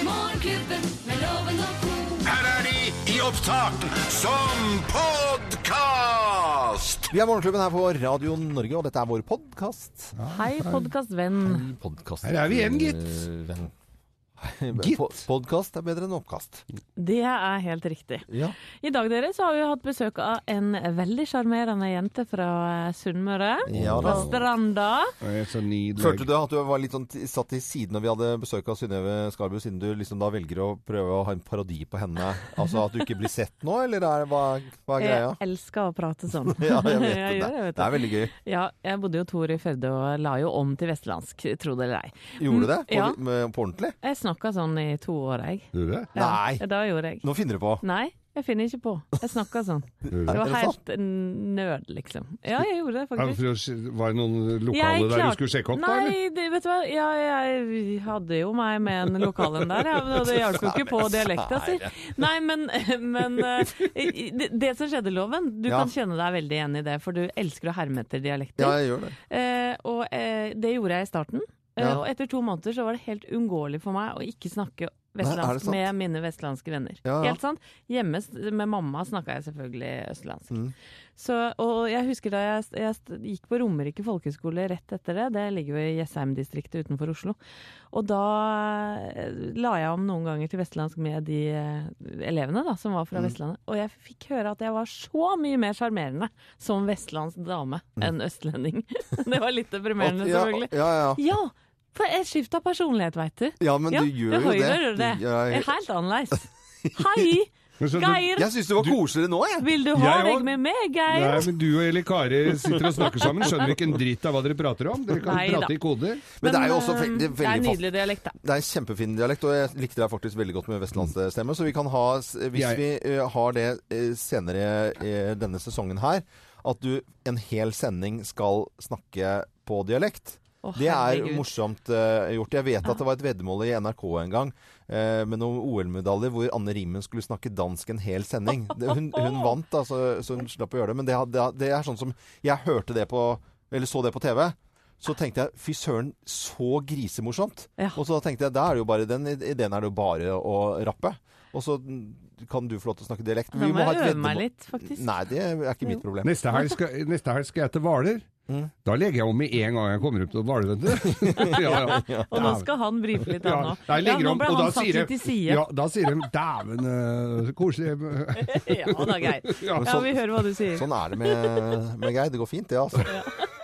Morgenklubben med loven og ko. Her er de i opptak som podkast! Vi er Morgenklubben her på Radio Norge, og dette er vår podkast. Hei, podkastvenn. Podcast. Her er vi igjen, gitt. Eh, venn. Gitt. Po- Podcast er bedre enn oppkast. Det er helt riktig. Ja. I dag dere, så har vi hatt besøk av en veldig sjarmerende jente fra eh, Sunnmøre. Ja Fra da. Stranda. Det er så nydelig. Følte du at du var litt sånn t- satt til siden når vi hadde besøk av Synnøve Skarbu, siden du liksom da velger å prøve å ha en parodi på henne? Altså at du ikke blir sett nå, eller er, hva, hva er greia? Jeg elsker å prate sånn. Eh, Ja, jeg vet Jeg det. gjør det, vet du. Det er veldig gøy. Ja, jeg bodde jo to år i Førde og la jo om til vestlandsk, tro det eller ei. Gjorde du det? På, Ja. med, på ordentlig? Jeg snakka sånn i to år, jeg. Du det? Nei. Ja, da gjorde jeg. Nå finner du på. Nei, jeg finner ikke på. Jeg snakka sånn. Du Det det? Er Mm. var det sant? helt nød, liksom. Ja, jeg gjorde det Ja, faktisk. for å si- Var det noen Jeg lokaler der du klarte- skulle sjekke opp? da, eller? Nei, det, vet du hva. Ja, jeg hadde jo meg med en lokalen der, ja, men det hjalp jo ikke på dialekta si. Nei, men, men eh, det, det som skjedde, Loven, du Ja. kan kjenne deg veldig igjen i det, for du elsker å herme etter dialekter. Ja, jeg gjør det. Eh, og eh, det gjorde jeg i starten. Eh, Ja. Og etter to måneder så var det helt uunngåelig for meg å ikke snakke Nei, er det vestlandsk sant? med mine vestlandske venner. Ja, ja. Helt sant? Hjemme s- med mamma snakka jeg selvfølgelig Mm. østlandsk. Så, og jeg husker da jeg, jeg st- gikk på Romerike folkehøgskole rett etter det, det ligger jo i Jessheim-distriktet utenfor Oslo, og da eh, la jeg om noen ganger til vestlandsk med de eh, elevene da, som var Mm. fra Vestlandet, og jeg fikk høre at jeg var så mye mer sjarmerende som vestlandsk dame enn østlending. det var litt deprimerende, Mm. ja, selvfølgelig. ja, ja. Ja, for jeg skifta personlighet, veit du. Ja, men du gjør jo det. hører det. Du- ja, Det jeg- er helt annerledes. Hei, Men så du- Geir! Jeg syns det var koseligere nå, jeg. Vil du ha Jeg deg òg. med meg, Geir? Nei, men du og Eli Kari sitter og snakker sammen, skjønner ikke en dritt av hva dere prater om. Dere kan Nei da. prate i koder. Men det er jo også eh, fe- det er det er en veldig fa- nydelig dialekt, da. Det er en kjempefin dialekt, og jeg likte deg faktisk veldig godt med vestlandsstemme. Så vi kan ha, s- hvis Jeg- vi eh, har det eh, senere eh, denne sesongen her, at du en hel sending skal snakke på dialekt. Å, Det er herregud. morsomt eh, gjort. Jeg vet at det var et veddemål i NRK en gang eh, med noen OL-medaljer hvor Anne Rimmen skulle snakke dansk en hel sending. Det- Hun, hun vant, da, så, så hun slapp å gjøre det. Men det, had- det, det er sånn som Jeg hørte det på Eller så det på TV. Så tenkte jeg fy søren, så grisemorsomt. Ja. Og så tenkte jeg da er det jo bare den, i den er det jo bare å rappe. Og så kan du få lov til å snakke dialekt. Da Vi må ha et jeg øve meg veddemål. litt, faktisk. Nei, det er ikke mitt problem. Neste helg skal, neste helg skal jeg til Hvaler. Mm. Da legger jeg om med en gang jeg kommer opp til Hvaler. vet du. ja, ja. Og nå skal han brife litt, Ja, han òg. nei, jeg legger nå om, ble og da han satt sier jeg- litt til side. Ja, da sier de 'dæven, eh, så koselig'. Ja da, Geir. Ja, Ja, sånn- vi hører hva du sier. Sånn er det med, med Geir. Det går fint, det, altså.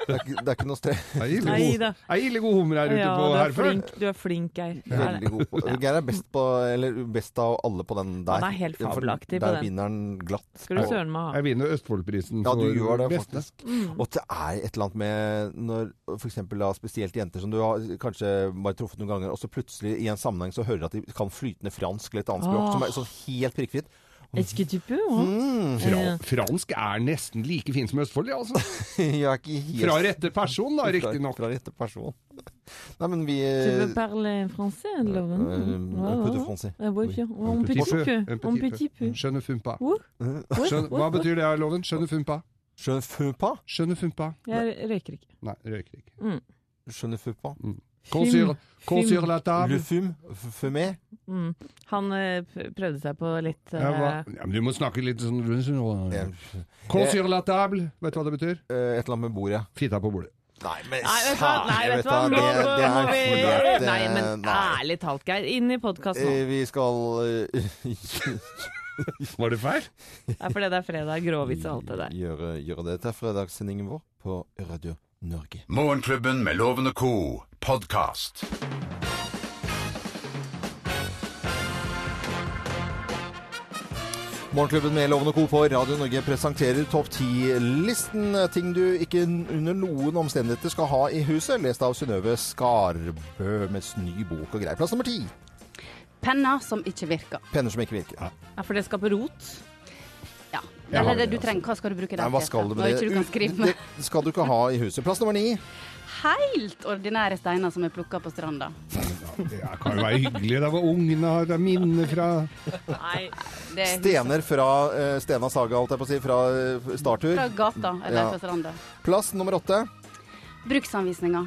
Det er, ikke- det er ikke noe stress. Det er ille Nei god- da. det er ille god hummer her ute Ja, på du er Herføl. flink, du er flink, Geir. Du er Veldig det. god på Geir er best, på, eller best av alle på den der. Han er helt For fabelaktig på Der den. vinner han glatt. Skal du søren meg ha. Jeg vinner Østfoldprisen Ja, du for gjør det beste. faktisk. Og det er et eller annet med når f.eks. spesielt jenter som du har kanskje bare truffet noen ganger, og så plutselig i en sammenheng så hører du at de kan flytende fransk eller et annet språk, Åh. som er sånn helt prikkfritt. Est-ce que tu peux, Mm, hein? Fra, Ja. fransk er nesten like fin som Østfold, ja, altså. Jeg er ikke helt Fra rette person, da, riktignok. Fra, fra rette person. Nei, men vi Tu veux parler français, Lauren? Euh, eh, un Ouais, peu ouais, de ouais. français. Ah, ouais, Oui. bien. Ouais, On peut petit peu, peu. un On petit petit peu. Skjønne fumpa. Ouh. Ouais, Skjønne, ouais, hva ouais. betyr det, Loven? Skjønne fumpa? Je ne fais pas. Skjønne fumpa? Jeg røyker ikke. Nei, røyker ikke. Je ne fais pas. Qu'on sur- qu'on sur la Le table? fume, fumer. Mm. Han eh, p- prøvde seg på litt Ja, hva? eh, Ja, men du må snakke litt sånn Eh, Qu'on sur la table? Vet du hva det betyr? Et eller annet med bordet. Fitta på bordet. Nei, men Nei, vet du hva, nei, jeg vet du hva? Nå det- det er må fordi at, vi eh, Nei, men nei. ærlig talt, Geir. Inn i podkasten nå. Eh, Vi skal Var det feil? Det er fordi det er fredag, gråvits og alt det eh, der. gjøre, gjøre det til fredagssendingen vår på Radio Norge. Morgenklubben med Loven og Co, podkast. Morgenklubben med Lovende Co. på Radio Norge presenterer Topp 10-listen. Ting du ikke n- under noen omstendigheter skal ha i huset. Lest av Synnøve Skarbø med ny bok og greier. Plass nummer ti. Penner som ikke virker. Penner som ikke virker. Ja, for det skaper rot. Ja. Jeg har Eller det det, du trenger. Hva skal du bruke den Nei, hva skal du Når med ikke det? du Eh, kan skrive med Det skal du ikke ha i huset. Plass nummer ni. helt ordinære steiner som er plukka på stranda. Ja, det kan jo være hyggelig. Det var ungene har det er minner fra Nei. Det er Stener fra eh, Stena Saga, holdt jeg på å si, fra eh, starttur. fra gata eller Ja. fra stranda. Plass nummer åtte. Bruksanvisninger.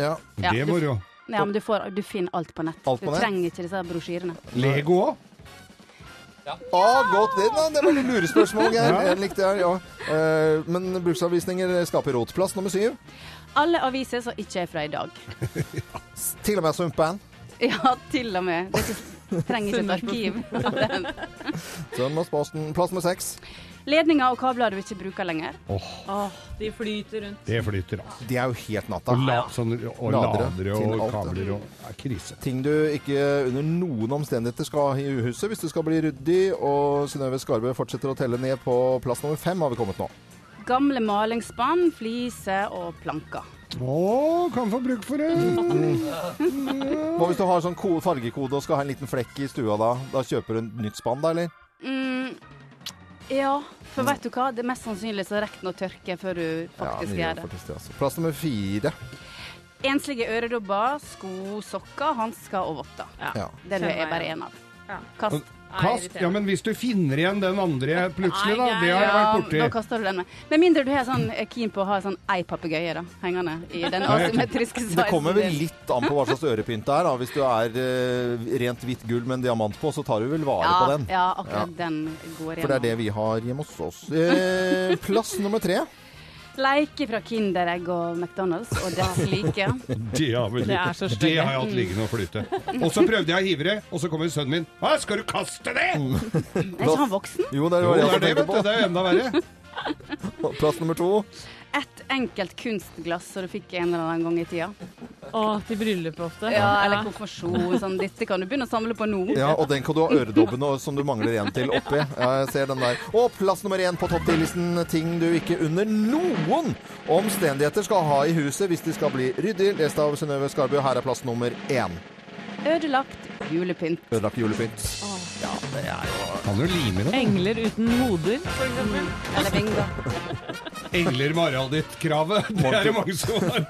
Ja. Ja, Det du- moro. Ja, men du, får, du finner alt på nett. Alt på du nett? trenger ikke disse brosjyrene. Lego òg. Å, godt det, da. Det var litt lurespørsmål, Geir. Jeg likte det, ja. Eh, Men bruksanvisninger skaper rot. Plass nummer syv. Alle aviser som ikke er fra i dag. Til og med sumpband. Ja, til og med. Det er ikke, trenger ikke et arkiv. av den. Søndagsposten. Plass nummer seks. Ledninger og kabler du ikke bruker lenger. de flyter rundt. Det flytter, altså. De er jo helt natta. Og, la, sånn, og Ladere ladere, til og alt. kabler og ja, Krise. Ting du ikke under noen omstendigheter skal ha i huset hvis du skal bli ryddig. Og Synnøve Skarbø fortsetter å telle ned på plass nummer fem, har vi kommet nå. Gamle malingsspann, fliser og planker. Å, kan få bruk for det! Hva hvis du har sånn ko- fargekode og skal ha en liten flekk i stua da? Da kjøper du nytt spann da, eller? Mm, ja, for Mm. vet du hva? Det er mest sannsynlig så rekker den å tørke før du faktisk mye gjør det. faktisk det, altså. Plass nummer fire. Enslige øredobber, sko, sokker, hansker og votter. Ja. Den Skjønner er jeg. bare én av. Ja. Kast. Kast. Ja, men hvis du finner igjen den andre plutselig, da. Det har jeg Ja, vært da borti. kaster du den med. Med mindre du er sånn eh, keen på å ha sånn ei papegøye da, hengende i den asymmetriske sizen. Det kommer vel din. litt an på hva slags ørepynt det er. Da. Hvis du er eh, rent hvitt gull med en diamant på, så tar du vel vare på ja, den. ja, akkurat den går igjennom. For det er det vi har hjemme hos oss. Eh, plass nummer tre. Leike fra Kinderegg og McDonald's og dets like. Det har, vel, Det er så stygge. det har jeg hatt liggende og flyte. Og så prøvde jeg å hive det, og så kommer sønnen min. Hva, skal du kaste Mm. det?! Er ikke han voksen? Jo, det Jo, var jeg det er som det, tenkte vet du. Det er jo enda verre. på. Plass nummer to. Ett enkelt kunstglass som du fikk en eller annen gang i tida. Å, til bryllup ofte. Ja, eller konfirmasjon. Sånn. Dette kan du begynne å samle på nå. Ja, og den kan du ha øredobben og- som du mangler en til oppi. Ja, jeg ser den der. Og plass nummer én på topp 10-listen. Ting du ikke under noen omstendigheter skal ha i huset hvis de skal bli ryddig. Lest av Synnøve Skarbø. Her er plass nummer én. Ødelagt julepynt. Ødelagt julepynt. Ja, det er jo Kan jo lime det. Engler uten hoder, for eksempel. Eller bingo. Engler med Harald-ditt-kravet. Det er det mange som har.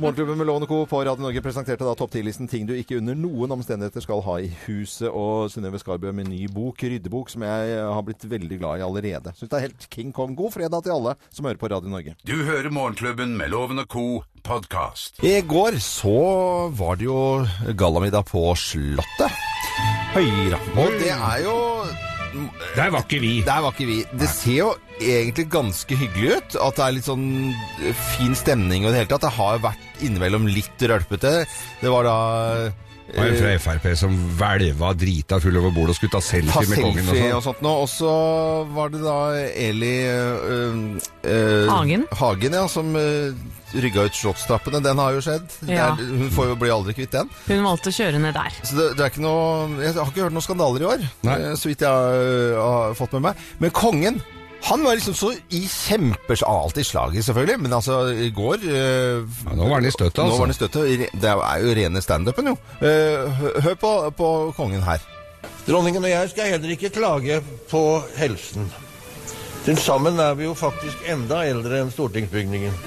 Morgenklubben med Lovende Co. på Radio Norge presenterte da topp 10-listen ting du ikke under noen omstendigheter skal ha i huset. Og Synnøve Skarbø med ny bok, ryddebok, som jeg har blitt veldig glad i allerede. Syns det er helt King Kong. God fredag til alle som hører på Radio Norge. Du hører Morgenklubben med Loven og Co. podkast. I går så var det jo gallamiddag på Slottet. Høyre. Og det er jo Der var ikke vi. Der var ikke vi. Det ser jo egentlig ganske hyggelig ut. At det er litt sånn fin stemning og det hele tatt. Det har jo vært innimellom litt rølpete. Det var da Det var en eh, fra Frp som hvelva drita full over bordet og skulle ta Ta selfie med kongen og selfie og sånn. sånt nå. Og så var det da Eli eh, eh, Hagen. Hagen, ja, som uh, rygga ut slottstrappene. Den har jo skjedd. Ja. Det er- hun får jo bli aldri kvitt den. Hun valgte å kjøre ned der. Så det, det er ikke noe Jeg har ikke hørt noen skandaler i år, Nei. eh, så vidt jeg har, har fått med meg. Men kongen han var liksom så i kjempers Alt i slaget, selvfølgelig, men altså, i går eh, Ja, nå var han i støtet, Nå altså. var han i støtet. Det er jo rene standupen, jo. Eh, hø- Hør på, på kongen her. Dronningen og jeg skal heller ikke klage på helsen. Til sammen er vi jo faktisk enda eldre enn stortingsbygningen.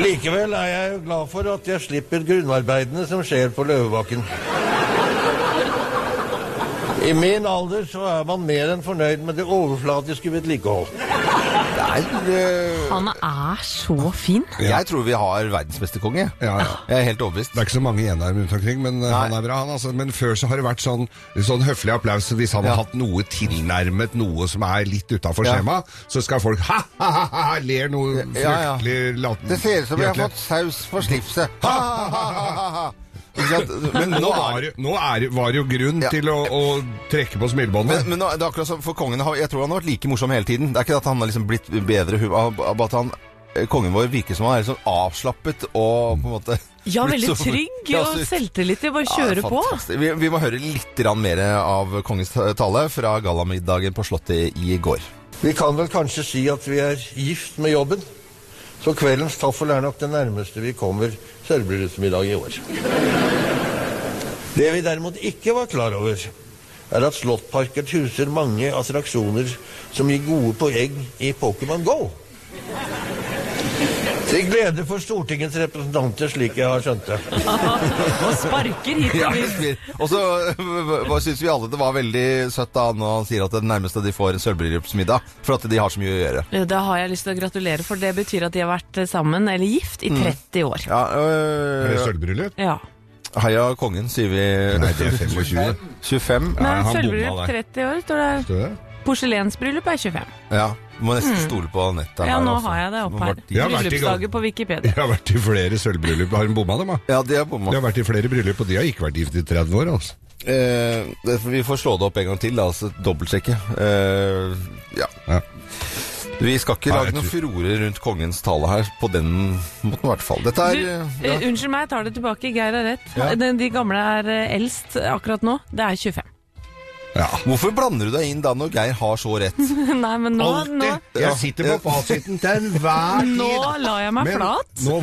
Likevel er jeg jo glad for at jeg slipper grunnarbeidene som skjer på Løvebakken. I min alder så er man mer enn fornøyd med det overflatiske vedlikehold. Det er eh, Han er så fin. Jeg tror vi har verdensmesterkonge. Ja, ja. Jeg er helt overbevist. Det er ikke så mange igjen der rundt omkring, men eh, han er bra, han. Altså. Men før så har det vært sånn, sånn høflig applaus. så Hvis han Ja. har hatt noe tilnærmet noe som er litt utafor Ja. skjema, så skal folk ha, ha, ha, ha, ha ler noe fryktelig Ja, ja. lat- Det ser ut som vi har hjertelig. fått saus på slipset. Ha, ha, ha, ha, ha. Ikke sant? Men Nå, nå er var, det- nå er, var det jo grunn Ja. til å, å trekke på smilebåndet. Men, men nå er det akkurat som for kongen har- Jeg tror han har vært like morsom hele tiden. Det er ikke at han har liksom blitt bedre hu- av- av at han eh, Kongen vår virker som han er litt sånn avslappet og på en måte Ja, blitt veldig så- trygg Ja, og så- selvtillit i å bare Ja, kjøre på. fantastisk. Vi, vi må høre litt grann mer av kongens ta- tale fra gallamiddagen på Slottet i går. Vi kan vel kanskje si at vi er gift med jobben. Så kveldens taffel er nok det nærmeste vi kommer sølvbryllupsmiddag i år. Det vi derimot ikke var klar over, er at Slottparken huser mange attraksjoner som gir gode poeng i Pokémon GO. Til glede for Stortingets representanter, slik jeg har skjønt det. Og sparker hit Ja, og dit. vi- og så syns vi alle det var veldig søtt da når han sier at det nærmeste de får sølvbryllupsmiddag, for at de har så mye å gjøre. Ja, Da har jeg lyst til å gratulere, for det betyr at de har vært eh, sammen, eller gift, Mm. i 30 år. Ja, Er det øh, sølvbryllup? Ja. Heia kongen, sier Nei, vi. det er 25. 25. Nei, han bomma sølvbryllup der. 30 år, står det her. Står det? Porselensbryllup er 25. Ja, må nesten stole på nettet. Mm. Ja, her, nå altså. har jeg det opp her. Jeg har vært i gang. Bryllupsdager på Wikipedia. Jeg har vært i flere sølvbryllup. Har hun bomma dem, da? Ja, de er bomma. Jeg har vært i flere bryllup, og de har ikke vært gift i 30 år, altså. Eh, det- vi får slå det opp en gang til, da, altså dobbeltsjekke. Eh, ja. Ja. Vi skal ikke Nei, lage jeg noen tror- furore rundt kongens tale her, på den måten i hvert fall. Dette Du, er eh, eh, unnskyld meg, jeg tar det tilbake. Geir har rett. Ja. Den- De gamle er eh, eldst akkurat nå. Det er 25. Ja. Hvorfor blander du deg inn da når Geir har så rett? Nei, men nå, nå, Ja. Jeg sitter på fasiten til enhver tid. nå la jeg meg Men flat Nå,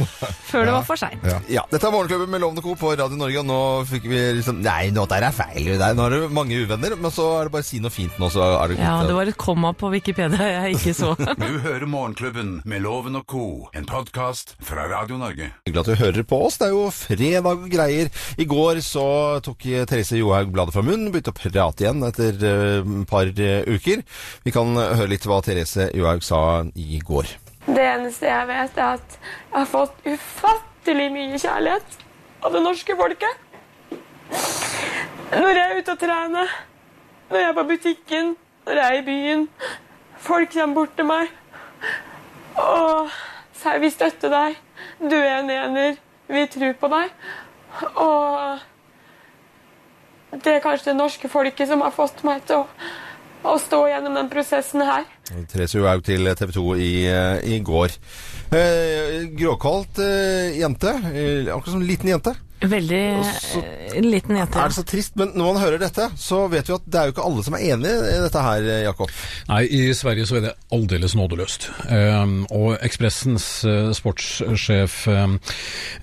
før det var for seint. ja. Ja, Dette er Morgenklubben med Lovende Co. på Radio Norge, og nå fikk vi liksom Nei, nå der er feil. Der. Nå har du mange uvenner, men så er det bare si noe fint nå, så er det Ja, det var et komma på Wikipedia jeg ikke så. Du hører Morgenklubben med Loven og Co., en podkast fra Radio Norge. hyggelig at du hører på oss. Det er jo fredag og greier. I går så tok Therese Johaug bladet fra munnen, begynte å prate igjen etter eh, et par eh, uker. Vi kan høre litt hva Therese Johaug sa i går. Det eneste jeg vet, er at jeg har fått ufattelig mye kjærlighet av det norske folket. Når jeg er ute og trener, når jeg er på butikken, når jeg er i byen. Folk kommer bort til meg og sier 'vi støtter deg', 'du er en ener', 'vi tror på deg'. Og det er kanskje det norske folket som har fått meg til å, å stå gjennom den prosessen her. Therese Johaug til TV 2 i, eh, i går. Eh, gråkalt eh, jente. Eh, akkurat som en liten jente. Veldig så- eh, liten jente. Er det så trist? Men når man hører dette, så vet vi at det er jo ikke alle som er enig i dette her, Jakob. Nei, i Sverige så er det aldeles nådeløst. Ehm, og Ekspressens eh, sportssjef ehm,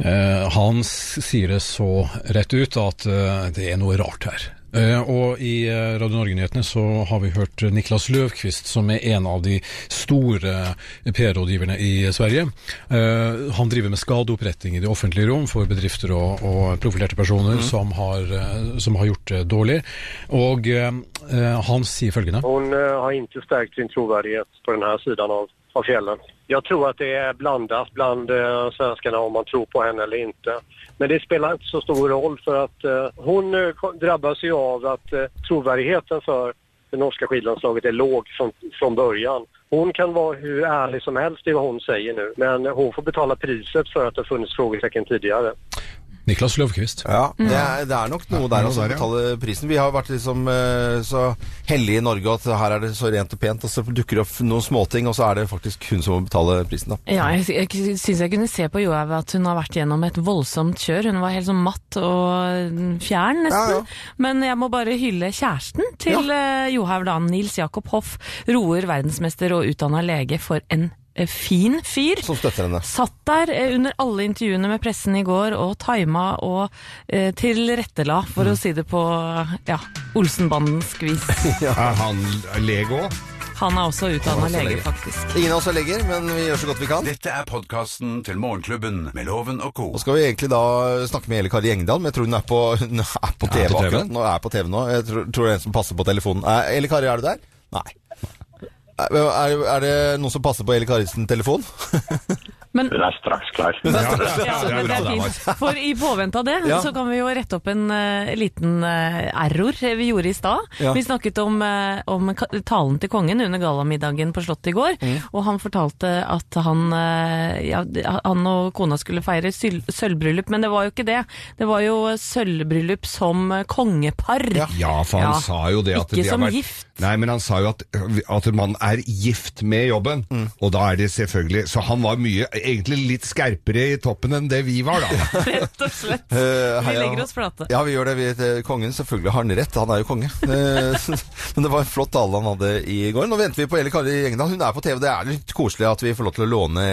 eh, Hans sier det så rett ut at eh, det er noe rart her. Eh, og i eh, Radio Norge-nyhetene så har vi hørt Niklas Løvqvist, som er en av de store PR-rådgiverne i Sverige. Eh, han driver med skadeoppretting i det offentlige rom for bedrifter og, og profilerte personer som, har, eh, som har gjort det dårlig. Og eh, eh, han sier følgende. Hon eh, har inte stärkt sin trovärdighet på den här sidan av, av fjällen. Jag tror att det är blandat bland eh, svenskarna om man tror på henne eller inte. Men det spelar inte så stor roll för att eh, hon eh, ko- drabbas ju av att eh, trovärdigheten för det norska skidlandslaget är låg från, från början. Hon kan vara hur ärlig som helst i vad hon säger nu, men hon får betala priset för att det har funnits frågetecken tidigare. Niklas Løvqvist. Ja, det er, det er nok noe der noe altså, å der, ja. betale prisen. Vi har vært liksom eh, så heldige i Norge at her er det så rent og pent, og så dukker det opp noen småting, og så er det faktisk hun som må betale prisen, da. Ja, jeg, jeg syns jeg kunne se på Johaug at hun har vært gjennom et voldsomt kjør. Hun var helt sånn matt og fjern, nesten. Ja, ja. Men jeg må bare hylle kjæresten til eh, Johaug, da. Nils Jakob Hoff. Roer, verdensmester og utdanna lege. For en eh, fin fyr. Som støtter henne. Satt der eh, under alle intervjuene med pressen i går og tima og eh, tilrettela, for å si det på ja, Olsenbandens vis. Er han lege òg? Han er også utdanna også lege, lege. faktisk. Ingen av oss er leger, men vi gjør så godt vi kan. Dette er podkasten til Morgenklubben med Loven og Co. Og skal vi egentlig da snakke med Eli Kari Engdahl, men jeg tror hun er på, hun er på TV på TV? akkurat nå. Er på TV nå. Jeg tror, tror det er en som passer på telefonen. Er, Eli Kari, er du der? Nei. Er, er er det noen som passer på Eli Karis telefon? Men Den är strax klar. Ja, men det er fint. For i påvente av det, Ja. så kan vi jo rette opp en eh, liten eh, error vi gjorde i stad. Ja. Vi snakket om, eh, om ka- talen til kongen under gallamiddagen på Slottet i går, og han fortalte at han, eh, ja, han og kona skulle feire syl- sølvbryllup, men det var jo ikke det. Det var jo sølvbryllup som eh, kongepar. Ja, for han Ja. sa jo det at Ikke de har som vært... gift. Nei, men han sa jo at, at man er gift med jobben, Mm. og da er det selvfølgelig Så han var mye, egentlig litt skerpere i toppen enn det vi var, da. Rett og slett. Eh, Vi heia. legger oss flate. Ja, vi gjør det. Vi, eh, kongen, selvfølgelig har han rett. Han er jo konge. Eh, Men det var en flott tale han hadde i går. Nå venter vi på Eli Kari Engdahl. Hun er på TV. Det er litt koselig at vi får lov til å låne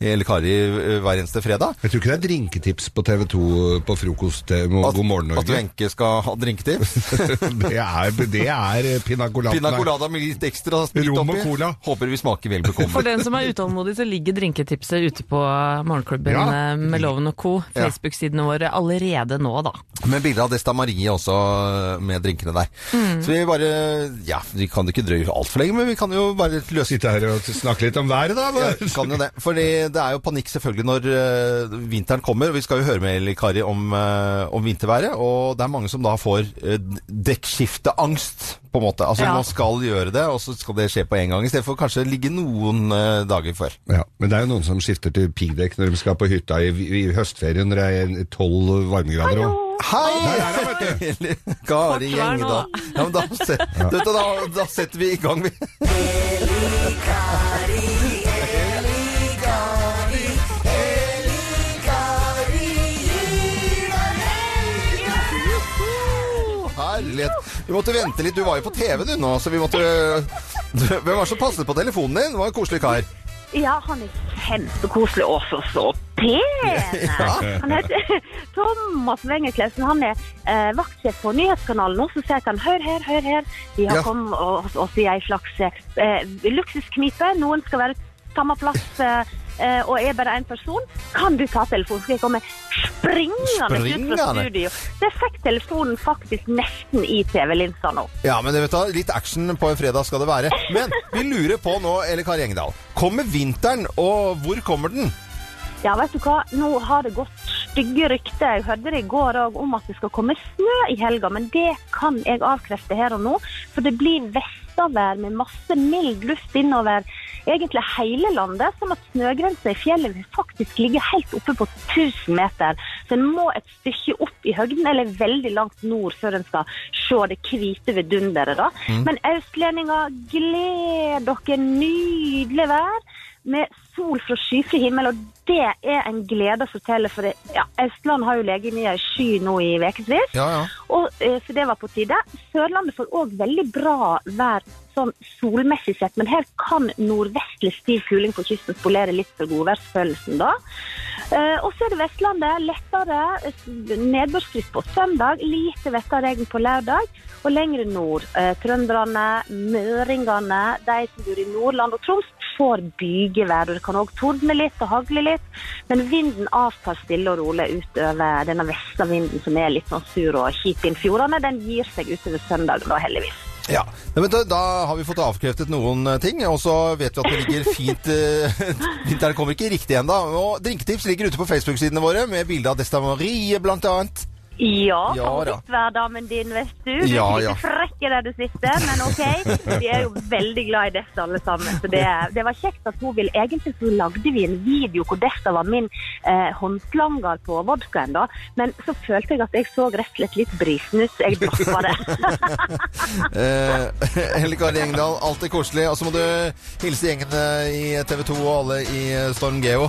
Eli Kari eh, hver eneste fredag. Jeg tror ikke det er drinketips på TV 2 på frokost eh, At, God morgen, at Norge. Wenche skal ha drinketips. det er, det er eh, pina colada. Pina colada med litt ekstra sprit Rom og oppi. cola. Håper vi smaker vel For bekommelig. den som er utålmodig, så ligger drinketipset ute ute på morgenklubben Ja. eh, med Loven og co. Ja. Facebook-sidene våre allerede nå, da. Med bilde av Desta Marie også, øh, med drinkene der. Mm. Så vi bare Ja, vi kan ikke drøye altfor lenge, men vi kan jo bare løse Sitte her og snakke litt om været, da. Ja, kan jo det. Fordi det er jo panikk selvfølgelig når øh, vinteren kommer. Og vi skal jo høre med Eli Kari om, øh, om vinterværet. Og det er mange som da får øh, dekkskifteangst, på en måte. Altså Ja. man skal gjøre det, og så skal det skje på en gang. Istedenfor kanskje ligge noen øh, dager før. Ja, men det er jo noen som skifter til piggdekk når de skal på hytta i, i høstferien når det er tolv varmegrader. Og... Hei! Eli Kari Fort vær nå. Gjengedal. Ja, men da, set, du vet, da, da setter vi i gang, vi. Herlighet. Vi måtte vente litt. Du var jo på TV du nå, så vi måtte du, Hvem var det som passet på telefonen din? Det var en koselig kar. Ja, han er kjempekoselig og så så pen! Han heter Thomas Wengeklausen. Han er eh, vaktsjef på nyhetskanalen, og så sier han hør her, hør her. Vi har Ja. kommet oss oss i ei slags eh, luksusknipe. Noen skal være samme plass. Eh, eh, og er bare én person, kan du ta telefonen? Skal jeg komme springende ut fra Springende? studio? Jeg fikk telefonen faktisk nesten i TV-linsa nå. Ja, men vet du, hva, litt action på en fredag skal det være. Men vi lurer på nå, eller Kari Engedal, kommer vinteren, og hvor kommer den? Ja, vet du hva? Nå har det gått stygge rykter. Jeg hørte det i går òg om at det skal komme snø i helga, men det kan jeg avkrefte her og nå. For det blir vestavær med masse mild luft innover egentlig hele landet, sånn at snøgrensa i fjellet vil faktisk ligge helt oppe på 1000 meter. Så en må et stykke opp i høgden, eller veldig langt nord, før en skal se det hvite vidunderet. da. Mm. Men østlendinger, gled dere nydelig vær med sol fra skyfri himmel, og det er en glede å fortelle, for det, ja, Østland har jo ligget nede i sky nå i ukevis, Ja, ja. og, eh, så det var på tide. Sørlandet får òg veldig bra vær sånn solmessig sett, men her kan nordvestlig stiv kuling på kysten spolere litt for godværsfølelsen, da. Eh, og så er det Vestlandet. Lettere eh, nedbørsfritt på søndag, lite vekka regn på lørdag. Og lengre nord. Eh, trønderne, møringene, de som bor i Nordland og Troms, får bygevær. Og det kan òg tordne litt og hagle litt. Men vinden avtar stille og rolig utover denne vestavinden som er litt sånn sur og kjip inn fjordene. Den gir seg utover søndagen, da, heldigvis. Ja, Nei, men da, da har vi fått avkreftet noen eh, ting, og så vet vi at det ligger fint eh, Vinteren kommer ikke riktig ennå. Og drinketips ligger ute på Facebook-sidene våre med bilde av Desta Marie, blant annet. Ja, Ja, da. favorittværdamen din, vet du. Du Ja, er ja. ikke frekk der du sitter, men ok. Vi er jo veldig glad i Desta alle sammen. Så det, det var kjekt at hun ville Egentlig så lagde vi en video hvor Desta var min eh, håndslanger på vodkaen, da. Men så følte jeg at jeg så rett og slett litt brisen ut, så jeg droppa det. Eh, Helle Kari Engdahl, alt er koselig. Og så må du hilse gjengene i TV 2 og alle i eh, Storm Geo.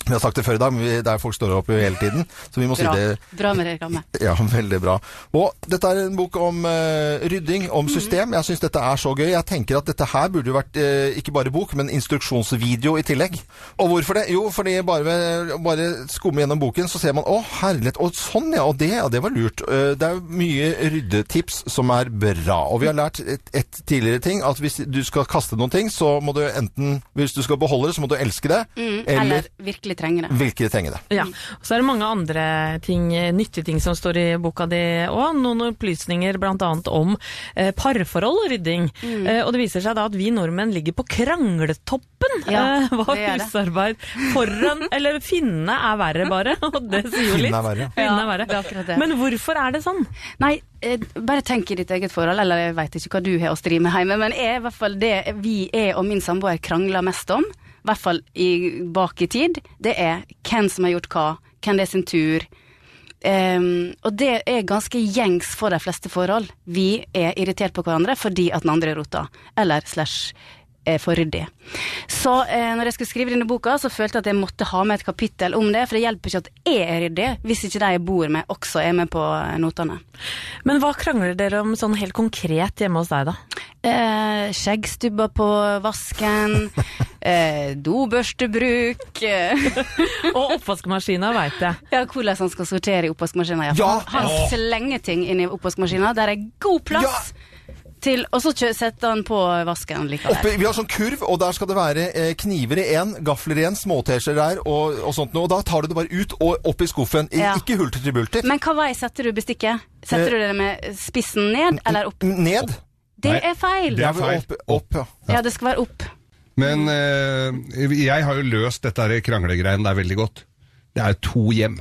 Vi har sagt det før i dag, men vi- det er folk står opp hele tiden, så vi må si Bra. det. Bra med reklame. Ja, veldig bra. Og dette er en bok om eh, rydding, Mhm. om system. Jeg syns dette er så gøy. Jeg tenker at dette her burde jo vært eh, ikke bare bok, men instruksjonsvideo i tillegg. Og hvorfor det? Jo, fordi bare, ved- bare skumme gjennom boken, så ser man å, herlighet. Og sånn, ja. Og det, ja, det var lurt. Eh, det er jo mye ryddetips som er bra. Og vi har lært et, et tidligere ting, at hvis du skal kaste noen ting, så må du enten Hvis du skal beholde det, så må du elske det. Mm, eller eller virkelig trenger det. virkelig trenge det. Ja, og Så er det mange andre ting, eh, nyttige ting som står i boka di òg. Noen opplysninger bl.a. om eh, parforhold og rydding. Mm. Eh, og det viser seg da at vi nordmenn ligger på krangletoppen Ja, eh, hva det gjør det. husarbeid foran Eller finnene er verre, bare. Og det sier jo Finnene litt. er verre. Finnene Ja, er verre. det er akkurat det. Men hvorfor er det sånn? Nei, eh, bare tenk i ditt eget forhold, eller jeg veit ikke hva du har å stri med hjemme, men er i hvert fall det vi er og min samboer krangler mest om, i hvert fall i, bak i tid, det er hvem som har gjort hva, hvem det er sin tur. Ehm, og det er ganske gjengs for de fleste forhold. Vi er irritert på hverandre fordi at den andre er rota, eller slash eh, for ryddig. Så eh, når jeg skulle skrive denne boka, så følte jeg at jeg måtte ha med et kapittel om det, for det hjelper ikke at jeg er ryddig hvis ikke de jeg bor med også er med på eh, notene. Men hva krangler dere om sånn helt konkret hjemme hos deg, da? Eh, skjeggstubber på vasken. eh, dobørstebruk. Eh, Og oppvaskmaskina, veit jeg. Ja, hvordan han skal sortere i oppvaskmaskina. Ja. Ja! for Han han slenger ting inn i oppvaskmaskina. Der er god plass til Og så kjø- setter han på vasken Oppe, likevel. vi har sånn kurv, og der skal det være eh, kniver i én, gafler i én, småteskjeer der og, og sånt noe. Og da tar du det bare ut og opp i skuffen. I, Ja. Ikke hulter til bulter. Men hva vei setter du bestikket? Eh, Setter du det med spissen ned eller opp? Ned. Det er feil. Det er feil. Opp, opp, ja. Ja, det skal være opp. Men eh, jeg har jo løst dette her kranglegreien der veldig godt. Det er to hjem.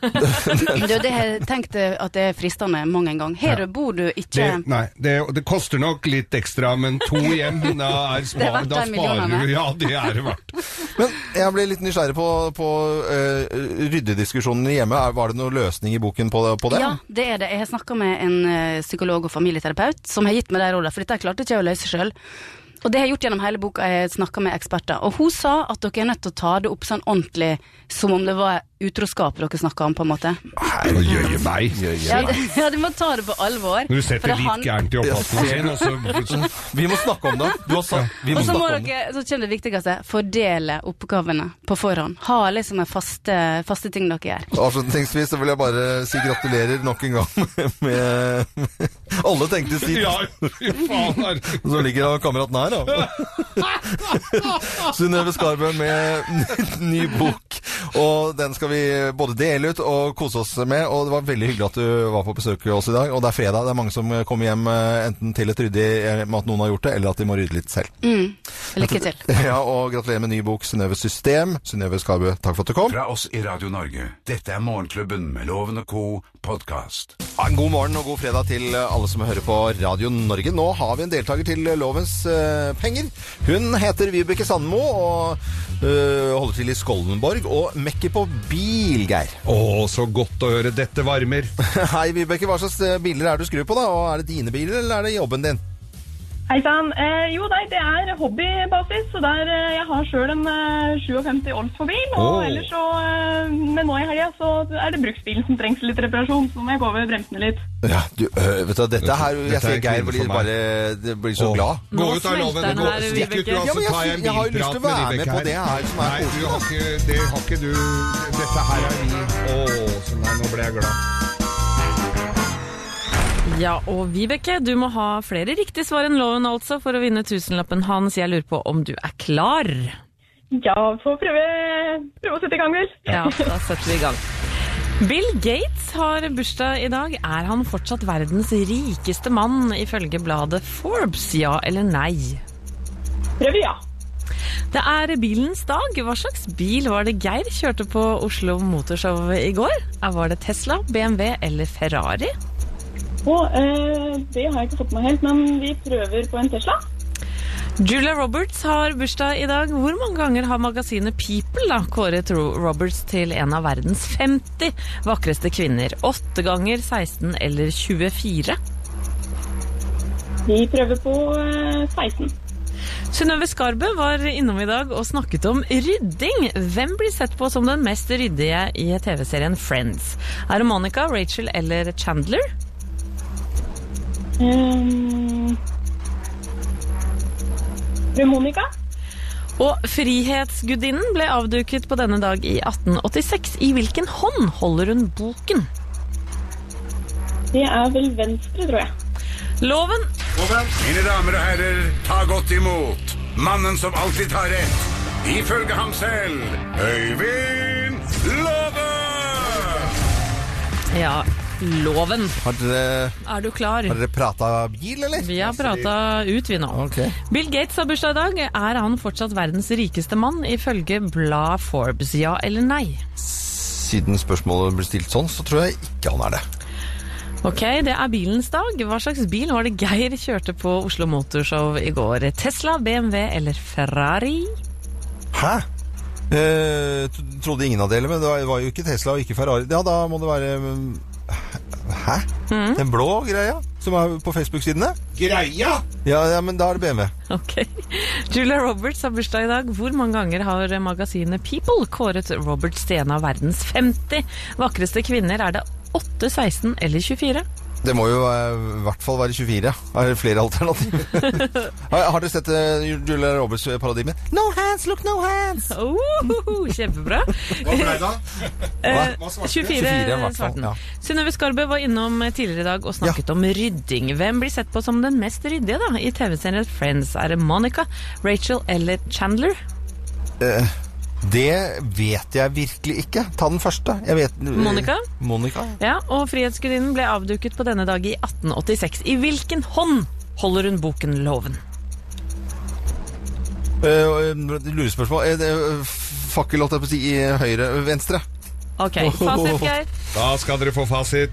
Du, det har jeg tenkt eh, at det er fristende mang en gang. Her bor du Det, ikke nei, det, det koster nok litt ekstra, men to hjem, da, er Det er spar, verdt da de sparer millionene. du Ja, det er det verdt. Men jeg ble litt nysgjerrig på, på eh, ryddediskusjonene hjemme. Er- Var det noen løsning i boken på, på det? Ja, det er det. Jeg har snakka med en eh, psykolog og familieterapeut som har gitt meg de rådene, for dette klarte ikke jeg å løse sjøl. Og det har jeg gjort gjennom hele boka, jeg har snakka med eksperter. Og hun sa at dere er nødt til å ta det opp sånn ordentlig som om det var utroskap dere snakka om, på en måte. Å jøye meg. Ja, det, ja, du må ta det på alvor. Når du for setter det litt han- gærent i oppvaskmaskinen, og så Vi må snakke om det. Du har sagt Vi Og må så må snakke om det. dere, så kommer det viktigste, fordele oppgavene på forhånd. Ha liksom en faste, faste ting dere gjør. Avslutningsvis så vil jeg bare si gratulerer nok en gang med, med Alle tenkte sitt. Ja, fy faen er det. Så ligger kameraten her, da. Synnøve Skarbø med ny bok. Og den skal vi både dele ut og kose oss med. Og det var veldig hyggelig at du var på besøk hos oss i dag. Og det er fredag. Det er mange som kommer hjem eh, enten til et ryddig eh, med at noen har gjort det, eller at de må rydde litt selv. Mm. Altså, Lykke til. Ja, og gratulerer med ny bok, Synnøve System. Synnøve Skarbø, takk for at du kom. Fra oss i Radio Norge. Dette er Morgenklubben med Loven og Co. podkast. Ja, en god morgen og god fredag til alle som hører på Radio Norge. Nå har vi en deltaker til Lovens eh, penger. Hun heter Vibeke Sandmo og eh, holder til i Skoldenborg og mekker på bil, Geir. Å, så godt å høre. Dette varmer. Hei, Vibeke. Hva slags eh, biler er det du skrur på, da? Og er det dine biler, eller er det jobben din? Hei sann. Eh, jo, nei, det er hobbybasis. så der, eh, Jeg har sjøl en eh, 57 Oldsmobile. Og Oh. ellers så, eh, men nå i helga så er det bruksbilen som trengs litt reparasjon. Så må jeg gå over bremsene litt. Ja, du, øh, vet du, dette her Jeg Dette er ser Geir kvinne blir for meg. bare det blir så Åh. glad. Gå ut av loven. smelter den Gå, her, stikk ut, du, Vibeke. og Ja, så men jeg tar jeg en sy- jeg har jo lyst bilprat til å med være med Vibeke på her. det her som er Nei, du har ikke, det har ikke du Dette her er min Å, så nei, nå ble jeg glad. Ja, og Vibeke, du må ha flere riktige svar enn loven altså for å vinne tusenlappen hans. Jeg lurer på om du er klar? Ja, får prøve, prøve å sette i gang, vel. Ja, da setter vi i gang. Bill Gates har bursdag i dag. Er han fortsatt verdens rikeste mann, ifølge bladet Forbes? Ja eller nei? Prøver, ja. Det er bilens dag. Hva slags bil var det Geir kjørte på Oslo Motorshow i går? Er- Var det Tesla, BMW eller Ferrari? Og eh, det har jeg ikke fått med helt, men vi prøver på en Tesla. Julia Roberts har bursdag i dag. Hvor mange ganger har magasinet People da kåret Ro- Roberts til en av verdens 50 vakreste kvinner? 8 ganger, 16 eller 24? Vi prøver på eh, 16. Synnøve Skarbø var innom i dag og snakket om rydding. Hvem blir sett på som den mest ryddige i TV-serien Friends? Er det Monica, Rachel eller Chandler? Um, prøver Eh, Monica. Og Frihetsgudinnen ble avduket på denne dag i 1886. I hvilken hånd holder hun boken? Det er vel venstre, tror jeg. Loven Mine damer og herrer, ta godt imot mannen som alltid tar rett. Ifølge ham selv Øyvind Love! Ja, loven. Har dere, Er du klar? har dere prata bil, eller? Vi har prata ut, vi nå. Ok. Bill Gates har bursdag i dag. Er han fortsatt verdens rikeste mann, ifølge bladet Forbes? Ja eller nei? Siden spørsmålet ble stilt sånn, så tror jeg ikke han er det. Ok, det er bilens dag. Hva slags bil var det Geir kjørte på Oslo Motorshow i går? Tesla, BMW eller Ferrari? Hæ? Eh, t- trodde ingen av delene, men det var, var jo ikke Tesla og ikke Ferrari. Ja, da må det være mm, Hæ? Den blå greia som er på Facebook-sidene? Greia! Ja, ja, men da er det BMW. Ok. Julia Roberts har bursdag i dag. Hvor mange ganger har magasinet People kåret Roberts til en av verdens 50 vakreste kvinner? Er det 8, 16 eller 24? Det må jo eh, i hvert fall være 24. Er det flere alternativ? har, har du sett eh, Julia Roberts-parodien min? No hands, look no hands! kjempebra. Hva ble det da? Eh, Hva svarte du? 24 24 i hvert fall, svarte ja. den. Synnøve Skarbø var innom eh, tidligere i dag og snakket om rydding. Hvem blir sett på som den mest ryddige da i TV-serien Friends? Er det Monica, Rachel eller Chandler? Eh, det vet jeg virkelig ikke. Ta den første. Jeg vet, eh, Monica? Monica. Ja, og Frihetsgudinnen ble avduket på denne dag i 1886. I hvilken hånd holder hun boken Loven? Eh, Lurespørsmål. Eh, det- Fakkel, holdt jeg på å si, i høyre Venstre. Ok, fasit, Geir. Da skal dere få fasit.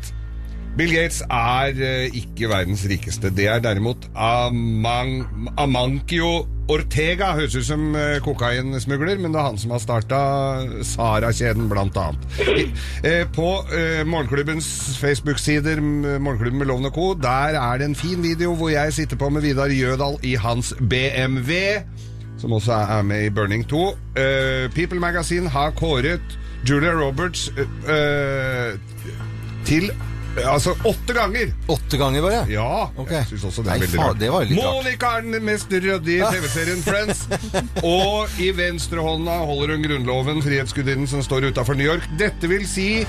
Bill Gates er eh, ikke verdens rikeste. Det er derimot Amang, Amancio Ortega. Høres ut som eh, kokainsmugler, men det er han som har starta Sara-kjeden, blant annet. I- eh, På eh, Morgenklubbens Facebook-sider, m- Morgenklubben med Loven og Co., der er det en fin video hvor jeg sitter på med Vidar Jødal i hans BMW som også er med i Burning 2. Eh, People Magazine har kåret Julia Roberts eh, eh, til eh, Altså åtte ganger! Åtte ganger bare? Ja. Jeg synes også det er Nei, veldig faen, rart. det var jo litt rart. Monica er den mest ryddige i TV-serien Friends. Og i venstrehånda holder hun grunnloven, frihetsgudinnen som står utafor New York. Dette vil si,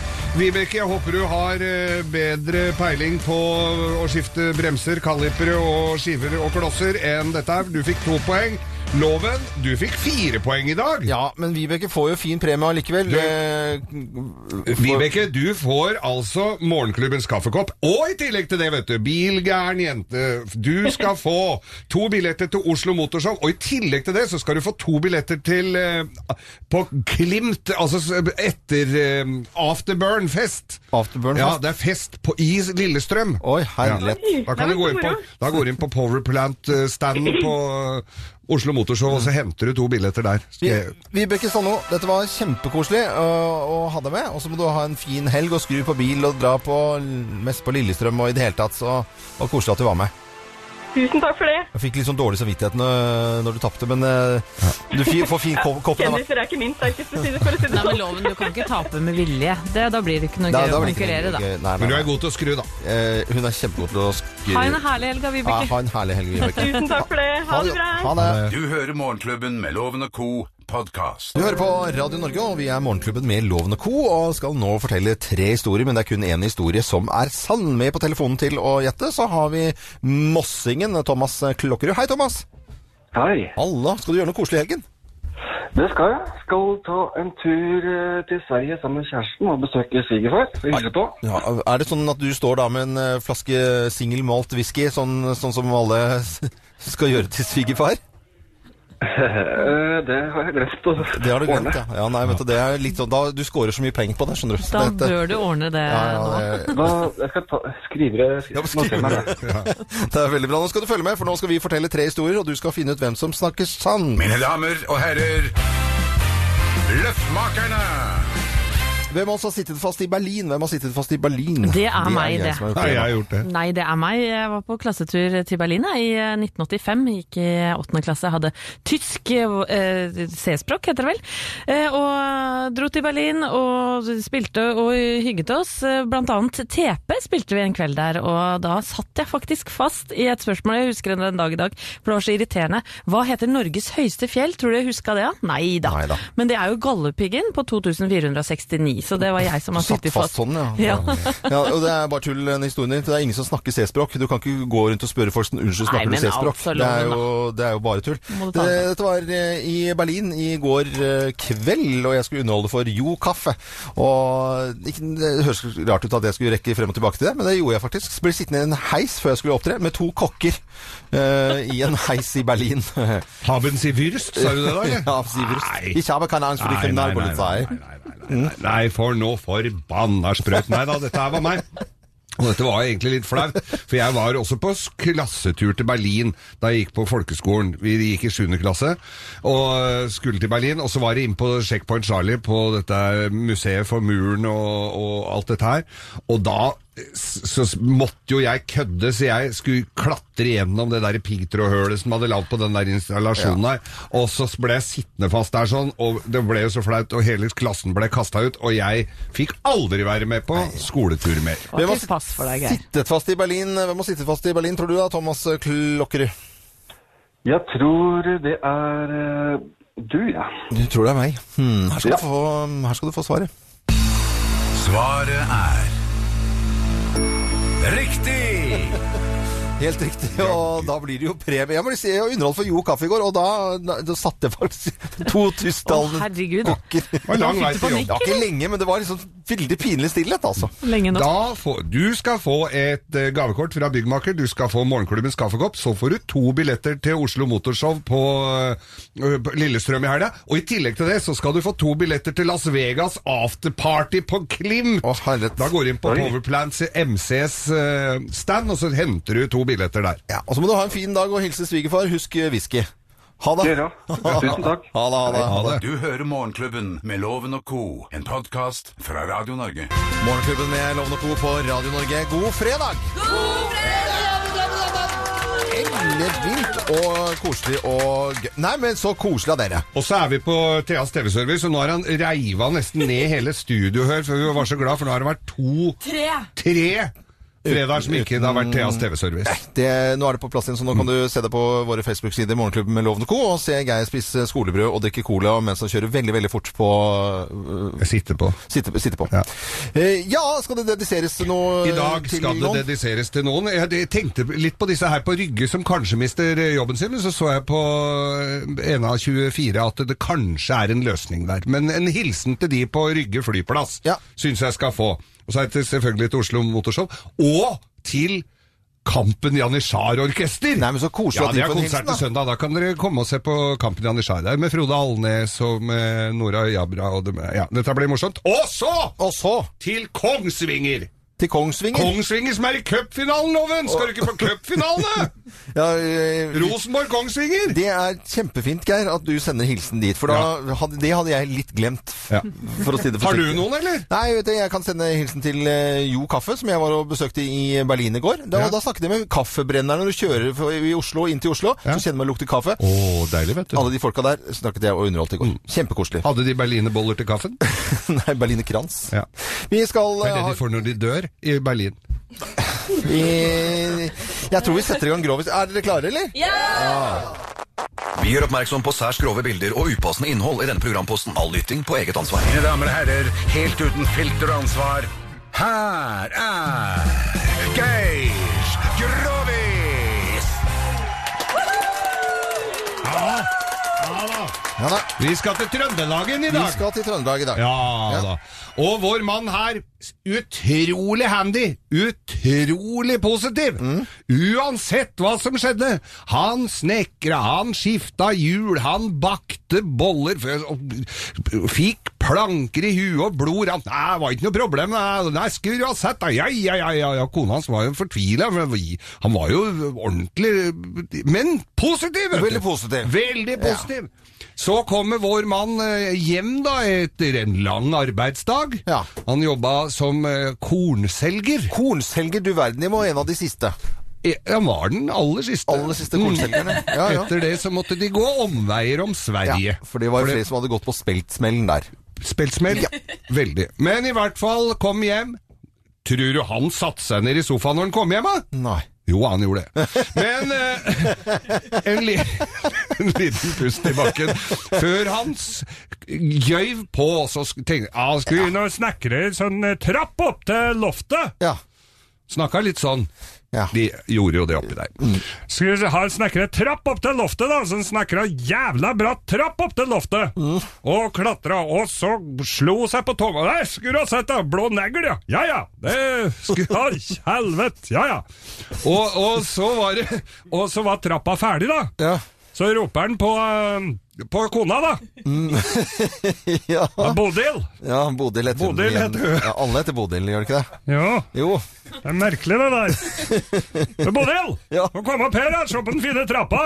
Vibeke, jeg håper du har eh, bedre peiling på å skifte bremser, kalipere og skiver og klosser enn dette her. Du fikk to poeng. Loven, du fikk fire poeng i dag. Ja, men Vibeke får jo fin premie allikevel. Du- Eh, Vibeke, du får altså morgenklubbens kaffekopp, og i tillegg til det, vet du, bilgæren jente. Du skal få to billetter til Oslo Motorshow, og i tillegg til det så skal du få to billetter til eh, på Klimt, altså s- etter eh, Afterburn-fest. Afterburn Ja, fest. det er fest på i Lillestrøm. Oi, herlighet. Da kan Nei, du gå inn på, da går du inn på Powerplant-standen på eh, Oslo Motorshow, og så henter du to billetter der. Skal- Vibeke Stanno, dette var kjempekoselig øh, å ha deg med. Og så må du ha en fin helg og skru på bil og dra på mest på Lillestrøm og i det hele tatt. Så det var koselig at du var med. Tusen takk for det. Jeg fikk litt sånn dårlig samvittighet når, når du tapte, men øh, du fi- får fin kopp, koppen. av meg. Kjendiser er ikke min sterkeste side, for å si det Nei, men sånn. loven, du kan ikke tape med vilje. Det, da blir det ikke noe Da- gøy da å blir det ikke noe konkurrere, da. gøy. Nei, nei, Men du nei. er god til å skru, da. Eh, hun er kjempegod til å skru Ha en herlig helg, da, Ja, Vibeke. ha en herlig helg, Vibeke. Tusen takk for det. Ha det bra. Ha det. Du hører Morgenklubben med Loven og Co. podkast. Du hører på Radio Norge, og vi er Morgenklubben med Loven og Co. Og skal nå fortelle tre historier, men det er kun én historie som er sann. Med på telefonen til å gjette så har vi mossingen Thomas Klokkerud. Hei, Thomas. Hei. Halla, skal du gjøre noe koselig i helgen? Det skal jeg. Skal ta en tur eh, til Sverige sammen med kjæresten og besøke svigerfar. og Hilse på. Ja, er det sånn at du står da med en eh, flaske single malt whisky, sånn, sånn som alle skal gjøre til svigerfar? Eh, Det har jeg glemt å Det har du glemt, ja. ja nei, vet du, det er litt sånn, da, du scorer så mye penger på det, skjønner du. Da Så det- bør du ordne det ja, ja, nå. det- Da, jeg skal ta, skrive det. Ja, men skriv notere meg det. Det er veldig bra. Nå skal du følge med, for nå skal vi fortelle tre historier, og du skal finne ut hvem som snakker sann. Mine damer og herrer, Løftmakerne! Hvem av oss har sittet fast i Berlin? Hvem har sittet fast i Berlin? Det er meg, jeg det. som har gjort Nei, jeg har gjort det. Nei, det er meg. Jeg var på klassetur til Berlin jeg, i eh, 1985. Gikk i åttende klasse. Hadde tysk eh, C-språk, heter det vel. Eh, og dro til Berlin og spilte og hygget oss. Eh, Blant annet TP spilte vi en kveld der, og da satt jeg faktisk fast i et spørsmål jeg husker den dag i dag, for det var så irriterende. Hva heter Norges høyeste fjell? Tror du jeg huska det? Ja? Nei da. Neida. Men det er jo Galdhøpiggen på 2469, så det var jeg som har Satt sittet fast fast. sånn, ja. Ja. Ja, og Det er bare tull, den historien din. for Det er ingen som snakker C-språk. Du kan ikke gå rundt og spørre folk som unnskyld, snakker Nei, du men C-språk? altså, Det, er loven, jo- det er jo bare tull. Må Det, du ta den. dette var eh, i Berlin i går eh, kveld, og jeg skulle underholde for Jo Kaffe. Og ikke, Det høres rart ut at jeg skulle rekke frem og tilbake til det, men det gjorde jeg faktisk. Ble sittende i en heis før jeg skulle opptre, med to kokker eh, i en heis i Berlin. Haben Sie Würst, sa du det da? eller? Ja, sier Wurst. Nei. Ich habe keine Angst for die Nei, nei, nei, Kriminalpolizei. nei, nei, nei, nei, nei, nei, for nå forbanna sprøyt. Nei da, dette her var meg. Og dette var egentlig litt flaut, for jeg var også på s- klassetur til Berlin da jeg gikk på folkeskolen. Vi gikk i 7. klasse og skulle til Berlin, og så var det inn på Checkpoint Charlie på dette museet for muren og, og alt dette her. Og da så s- måtte jo jeg kødde, så jeg skulle klatre gjennom det der piggtrådhølet som hadde lagd på den der installasjonen Ja. her. Og så ble jeg sittende fast der sånn, og det ble jo så flaut, og hele klassen ble kasta ut, og jeg fikk aldri være med på skoletur mer. Hvem har ikke pass for deg, Geir. sittet fast i Berlin? Hvem har sittet fast i Berlin, tror du da, Thomas Klokkerud? Jeg tror det er eh, du, ja. Du tror det er meg. Hmm, her, skal du få, her skal du få svaret. Svaret er Riktig! Helt riktig, og da blir det jo premie. Jeg må si, jeg underholdt for Jo Kaffe i går, og da, da, da satte jeg faktisk to Å, tusentallen herregud. Det var lang vei til jobb. Det var ikke lenge, men det var liksom veldig pinlig stillhet, altså. Lenge nok. Da får, du skal få et eh, gavekort fra Byggmaker, du skal få morgenklubbens kaffekopp, så får du to billetter til Oslo Motorshow på, eh, på Lillestrøm i helga, og i tillegg til det så skal du få to billetter til Las Vegas afterparty på Klimt! da går du inn på Oi. Powerplants MCs eh, stand, og så henter du to billetter der. Ja, og så må du ha en fin dag og hilse svigerfar. Husk eh, whisky. Ha det. Dere også. Tusen takk. Ha det, ha det, ha det. Du hører Morgenklubben med Loven og Co., en podkast fra Radio Norge. Morgenklubben med Loven og Co. på Radio Norge. God fredag! Ellevilt og koselig og gøy. Nei, men så koselig av dere. Og så er vi på Theas TV-service, og nå har han reiva nesten ned hele studio her, for vi var så glad, for nå har det vært to, Tre! tre fredager som ikke det har vært Theas TV-service. Det, nå er det på plass igjen, så nå kan du se det på våre Facebook-sider Morgenklubben med Loven og Co. og se Geir spise skolebrød og drikke cola mens han kjører veldig, veldig fort på øh, Sitte på. Sitte, sitte på. Ja. ja, skal det dediseres noe I dag til skal det noen? dediseres til noen. Jeg jeg tenkte litt på disse her på Rygge som kanskje mister eh, jobben sin, men så så jeg på eh, en av 24 at det kanskje er en løsning der. Men en hilsen til de på Rygge flyplass syns jeg skal få. Og så er det selvfølgelig til Oslo Motorshow. Og til Kampen Janitsjar Orkester! Nei, men så koselig ja, at de det er får en hilsen, konsert da. til søndag. Da kan dere komme og se på Kampen Janitsjar der med Frode Alnes og med Nora Jabra og dem. Ja, dette blir morsomt. Og så! Og så til Kongsvinger! Til Kongsvinger? Kongsvinger som er i cupfinalen, Loven! Skal du ikke på cupfinale? Ja, øh, Rosenborg Kongsvinger! Det er kjempefint, Geir, at du sender hilsen dit. For da, hadde, det hadde jeg litt glemt. Ja. For å si det Har du forsiktig. noen, eller? Nei, vet du, jeg kan sende hilsen til eh, Jo Kaffe, som jeg var og besøkte i Berlin i går. Da, Ja. og da snakket jeg med kaffebrenneren når du kjører for- i Oslo, inn til Oslo. Så kjenner man lukter kaffe. deilig, vet Alle de folka der snakket jeg og underholdt i Mm. går. Kjempekoselig. Hadde de berlinerboller til kaffen? Nei, Berliner Krans. Ja. Vi skal Det eh, er det ha de får når de dør i Berlin. vi, Jeg tror vi setter i gang Grovis. Er dere klare, eller? Vi gjør oppmerksom på særs grove bilder og upassende innhold i denne programposten. All lytting på eget ansvar. Mine damer og herrer, helt uten filter og ansvar, her er Geir Grovis! Ja da. Vi skal til Trøndelagen i dag. Vi skal til Trøndelag i dag. Ja, da. Og vår mann her, utrolig handy, utrolig positiv. Mm. Uansett hva som skjedde. Han snekra, han skifta hjul, han bakte boller, f- og fikk planker i huet og blod rant. Nei, det var ikke noe problem. Nei, nei skulle du ha sett det. Ja, ja, ja, ja, ja. Kona hans var jo fortvila. for vi- Han var jo ordentlig Men positiv! vet du. Veldig positiv. Veldig positiv. Så kommer vår mann eh, hjem da etter en lang arbeidsdag. Ja. Han jobba som eh, kornselger. Kornselger, du verden. Jeg må en av de siste. Eh, Han var den aller siste. Aller siste kornselgerne. Mm. Ja, ja. Etter det så måtte de gå omveier om Ja, Sverige. for det var jo flere som hadde gått på speltsmellen der. Speltsmell. Veldig. Men i hvert fall, kom hjem. Tror du han satte seg ned i sofaen når han kom hjem, da? Nei. Jo, han gjorde det. Men eh, en, li en liten pust i bakken før han s- gjøyv på, så sk- tenkte jeg ah, Skal vi inn og snekre en sånn eh, trapp opp til loftet? Ja. Snakka litt sånn. Ja. Mm. De gjorde jo det oppi der. Skal vi ha en snekre trapp opp til loftet, da? Så en snekra jævla bratt trapp opp til loftet. Mm. Og klatra, og så slo seg på tåa. Der skulle du ha sett, da! Blå negl, ja. Ja ja. Det skulle ha helvete. Ja ja. Og, og så var det Og så var trappa ferdig, da. Ja. Så roper han på, eh, på kona, da. Mm. ja. Bodil. ja Bodil heter Bodil hun igjen. heter hun. Ja, alle heter Bodil, gjør de ikke det? Ja. Jo. Det er merkelig, det der. Men Bodil, Ja. må komme opp her, da. se på den fine trappa.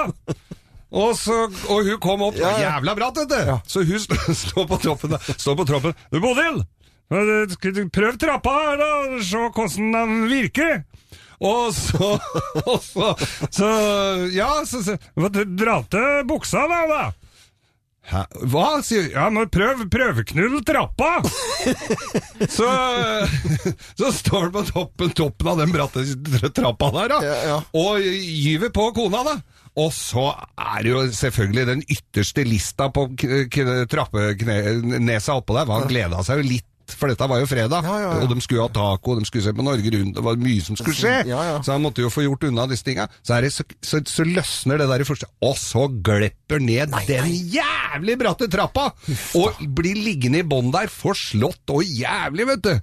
Og, så, og hun kom opp Ja, ja. jævla bratt, vet du. Så hun st- står på troppen. da. Står på troppen. Du, Bodil, Men, eh, skal du- Prøv trappa her, da, og se hvordan den virker. Og så, og så, så Ja, så, så hva, Dra til buksa, da. da. Hæ? Hva? sier Ja, men prøv, prøveknull trappa! Så, så står han på toppen, toppen av den bratte trappa der, da, og gyver på kona, da. Og så er det jo selvfølgelig den ytterste lista på k- k- trappenesa oppå der. Han gleda seg jo litt, for dette var jo fredag. Og de skulle ha taco, de skulle se på Norge Rundt, det var mye som skulle skje. Så han måtte jo få gjort unna disse tinga. Så, er det, så, så, så løsner det der i første, og så glepper ned den jævlig bratte trappa! Og blir liggende i bånn der, forslått og jævlig, vet du!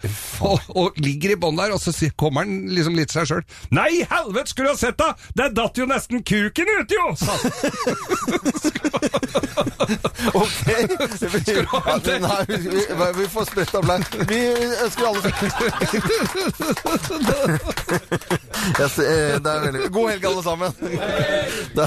Og, og ligger i bånn der, og så sier- kommer han liksom litt seg sjøl. Nei, helvete, skulle du ha sett da! Der datt jo nesten kuken ut, jo! sa han. Skal du ha en til? Nei, vi, vi- vi får spredt applaus. Vi ønsker alle Jeg ser- eh, Det er veldig God helg, alle sammen. Det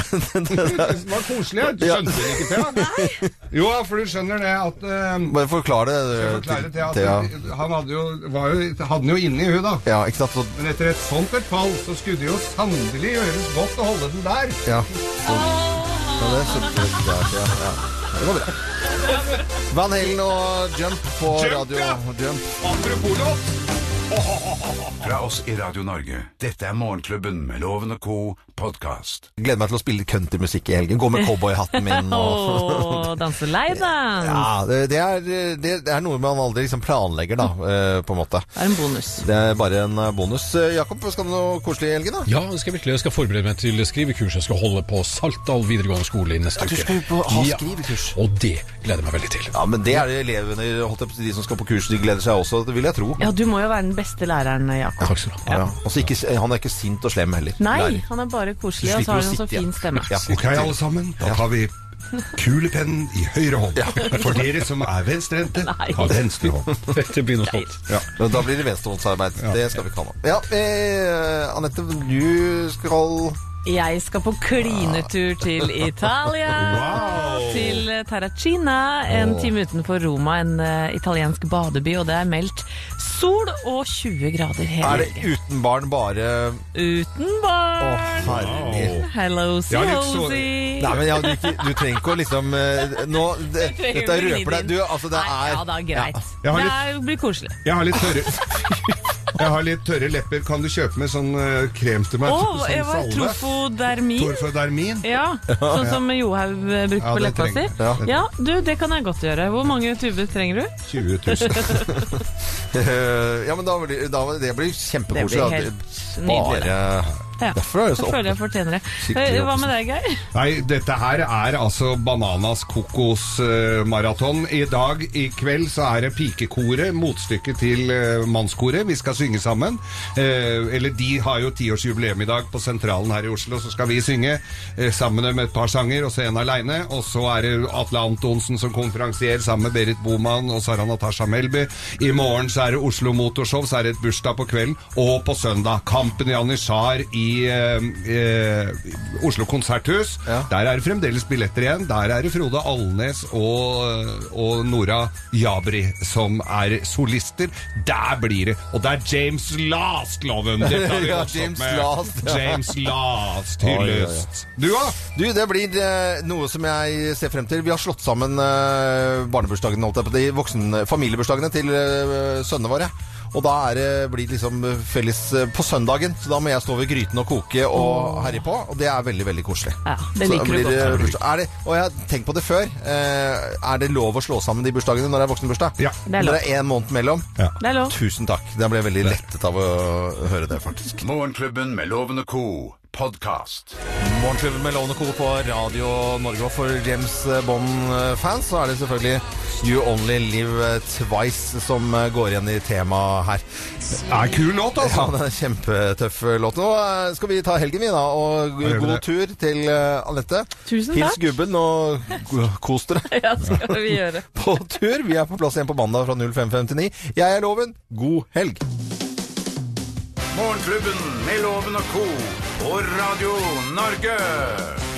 var koselig. Du Ja. skjønte det ikke, Thea? Jo, for du skjønner det at eh, Bare forklar det, eh, forklare til- Thea at Thea. Han hadde jo, var jo, hadde den jo inne i huet, da. Ja, ikke sant? Så, Men etter et sånt et fall, så skulle det jo sannelig gjøres godt å holde den der. ja. Så, ja, det skjønte jeg. Ja, ja. Det går bra. Van Halen og Jump på Jump, radio. ja! Jump. Apropos Fra oss i Radio Norge. Dette er Morgenklubben med Loven og co. podkast. Gleder meg til å spille countrymusikk i helgen. Gå med cowboyhatten min og Å, danse leirdans! Ja, det, det, er, det, det er noe man aldri liksom planlegger, da, eh, på en måte. Det er en bonus. Det er bare en eh, bonus. Eh, Jakob, skal du ha noe koselig i helgen, da? Ja, jeg skal virkelig jeg skal forberede meg til skrivekurs. Jeg skal holde på Saltdal videregående skole i neste Ja, du uke. skal jo på- ha Ja, skrivekurs. og det gleder jeg meg veldig til. Ja, men det er det elevene holdt jeg på, å si, de som skal på kurs, de gleder seg også, det vil jeg tro. Ja, du må jo være den beste læreren, Jakob. Takk skal du ha. Ja. Og så ikke, han er ikke sint og slem heller. Nei, Lærer. han er bare Du koselig, og så slipper har å han så sitte igjen. fin stemme. Ja. Ok, alle sammen. Da tar vi kulepennen i høyre hånd. For dere som er venstrehendte, ta venstre hånd. Dette blir noe sånt. Ja. Men Da blir det venstrehåndsarbeid. Ja. Det skal vi ikke ha nå. Ja, eh, Anette, du skal Jeg skal på klinetur til Ah. Italia. Til eh, Terracina, en Åh. time utenfor Roma, en eh, italiensk badeby. Og det er meldt sol og 20 grader hele Er det uten barn bare Uten barn! Å, herlig. Hello, Jeg er litt så- Sihosi! Nei, men ja, du, ikke- du trenger ikke å liksom eh, Nå det, Du trenger Dette ikke røper deg. Du, altså, det Nei, er ja, det er greit. Jeg har Det litt- er- blir koselig. Jeg har litt tørre Jeg har litt tørre lepper. Kan du kjøpe med sånn eh, krem til meg? Å, sånn jeg var salve? trofodermin. Torfodermin? Ja, sånn som Johaug eh, brukte på Ja, det leppa si. trenger- Ja. ja. du, det kan jeg godt gjøre. Hvor mange tuber trenger du? 20 000. Eh, ja, men da blir da, det blir Det kjempekoselig. blir da. helt Det- nydelig, det. Bare Ja, Derfor er jeg så jeg føler jeg opp- altså. fortjener det. Skikkelig Eh, Hva med deg, Geir? Nei, dette her er altså Bananas kokos eh, maraton. I dag, i kveld, så er det pikekoret, motstykket til eh, mannskoret. Vi skal synge sammen. Eh, eller de har jo tiårsjubileum i dag på Sentralen her i Oslo, så skal vi synge eh, sammen med et par sanger, og så en aleine. Og så er det Atle Antonsen som konferansier sammen med Berit Boman og Sara Natasha Melby. I morgen så er det Oslo Motorshow, så er det et bursdag på kvelden. Og på søndag, kampen i Anishar i eh, eh, Oslo Konserthus. Der er det fremdeles billetter igjen. Der er det Frode Alnes og, eh, og Nora Jabri som er solister. Der blir det. Og det er James Last, loven! Dette har vi Ja, vokst opp James med. Last, ja. James Last, Oi, oi, oi. hyllest. Du, da? Du, det blir eh, noe som jeg ser frem til. Vi har slått sammen eh, barnebursdagene, holdt jeg på å si, voksen- familiebursdagene til eh, sønnene våre. Og da er, det- blir det liksom felles eh, på søndagen, så da må jeg stå ved gryten og koke og herje på. Og det er veldig, veldig koselig. Ja, det Så liker du blir det godt. bursdag. Er det, og jeg har tenkt på det før. Eh, er det lov å slå sammen de bursdagene når det er voksenbursdag? Ja. er lov. Når det er én måned mellom? Det er lov. Tusen takk. Jeg ble veldig lettet av å høre det, faktisk. Morgenklubben med Loven og co. podkast. Morgenklubben med Lovende Co. på Radio Norge. Og for James Bond-fans så er det selvfølgelig You Only Live Twice som går igjen i temaet her. Det er kul låt, Ja, altså. det er en kjempetøff låt. Nå eh, skal vi ta helgen, vi, da. Og gjør vi god det. tur til eh, Anette. Tusen Hils takk. gubben og go- kos dere. Ja, skal vi gjøre. På tur. Vi er på plass igjen på mandag fra 05.59. Jeg er Loven. God helg. Morgenklubben med Loven og co. på Radio Norge.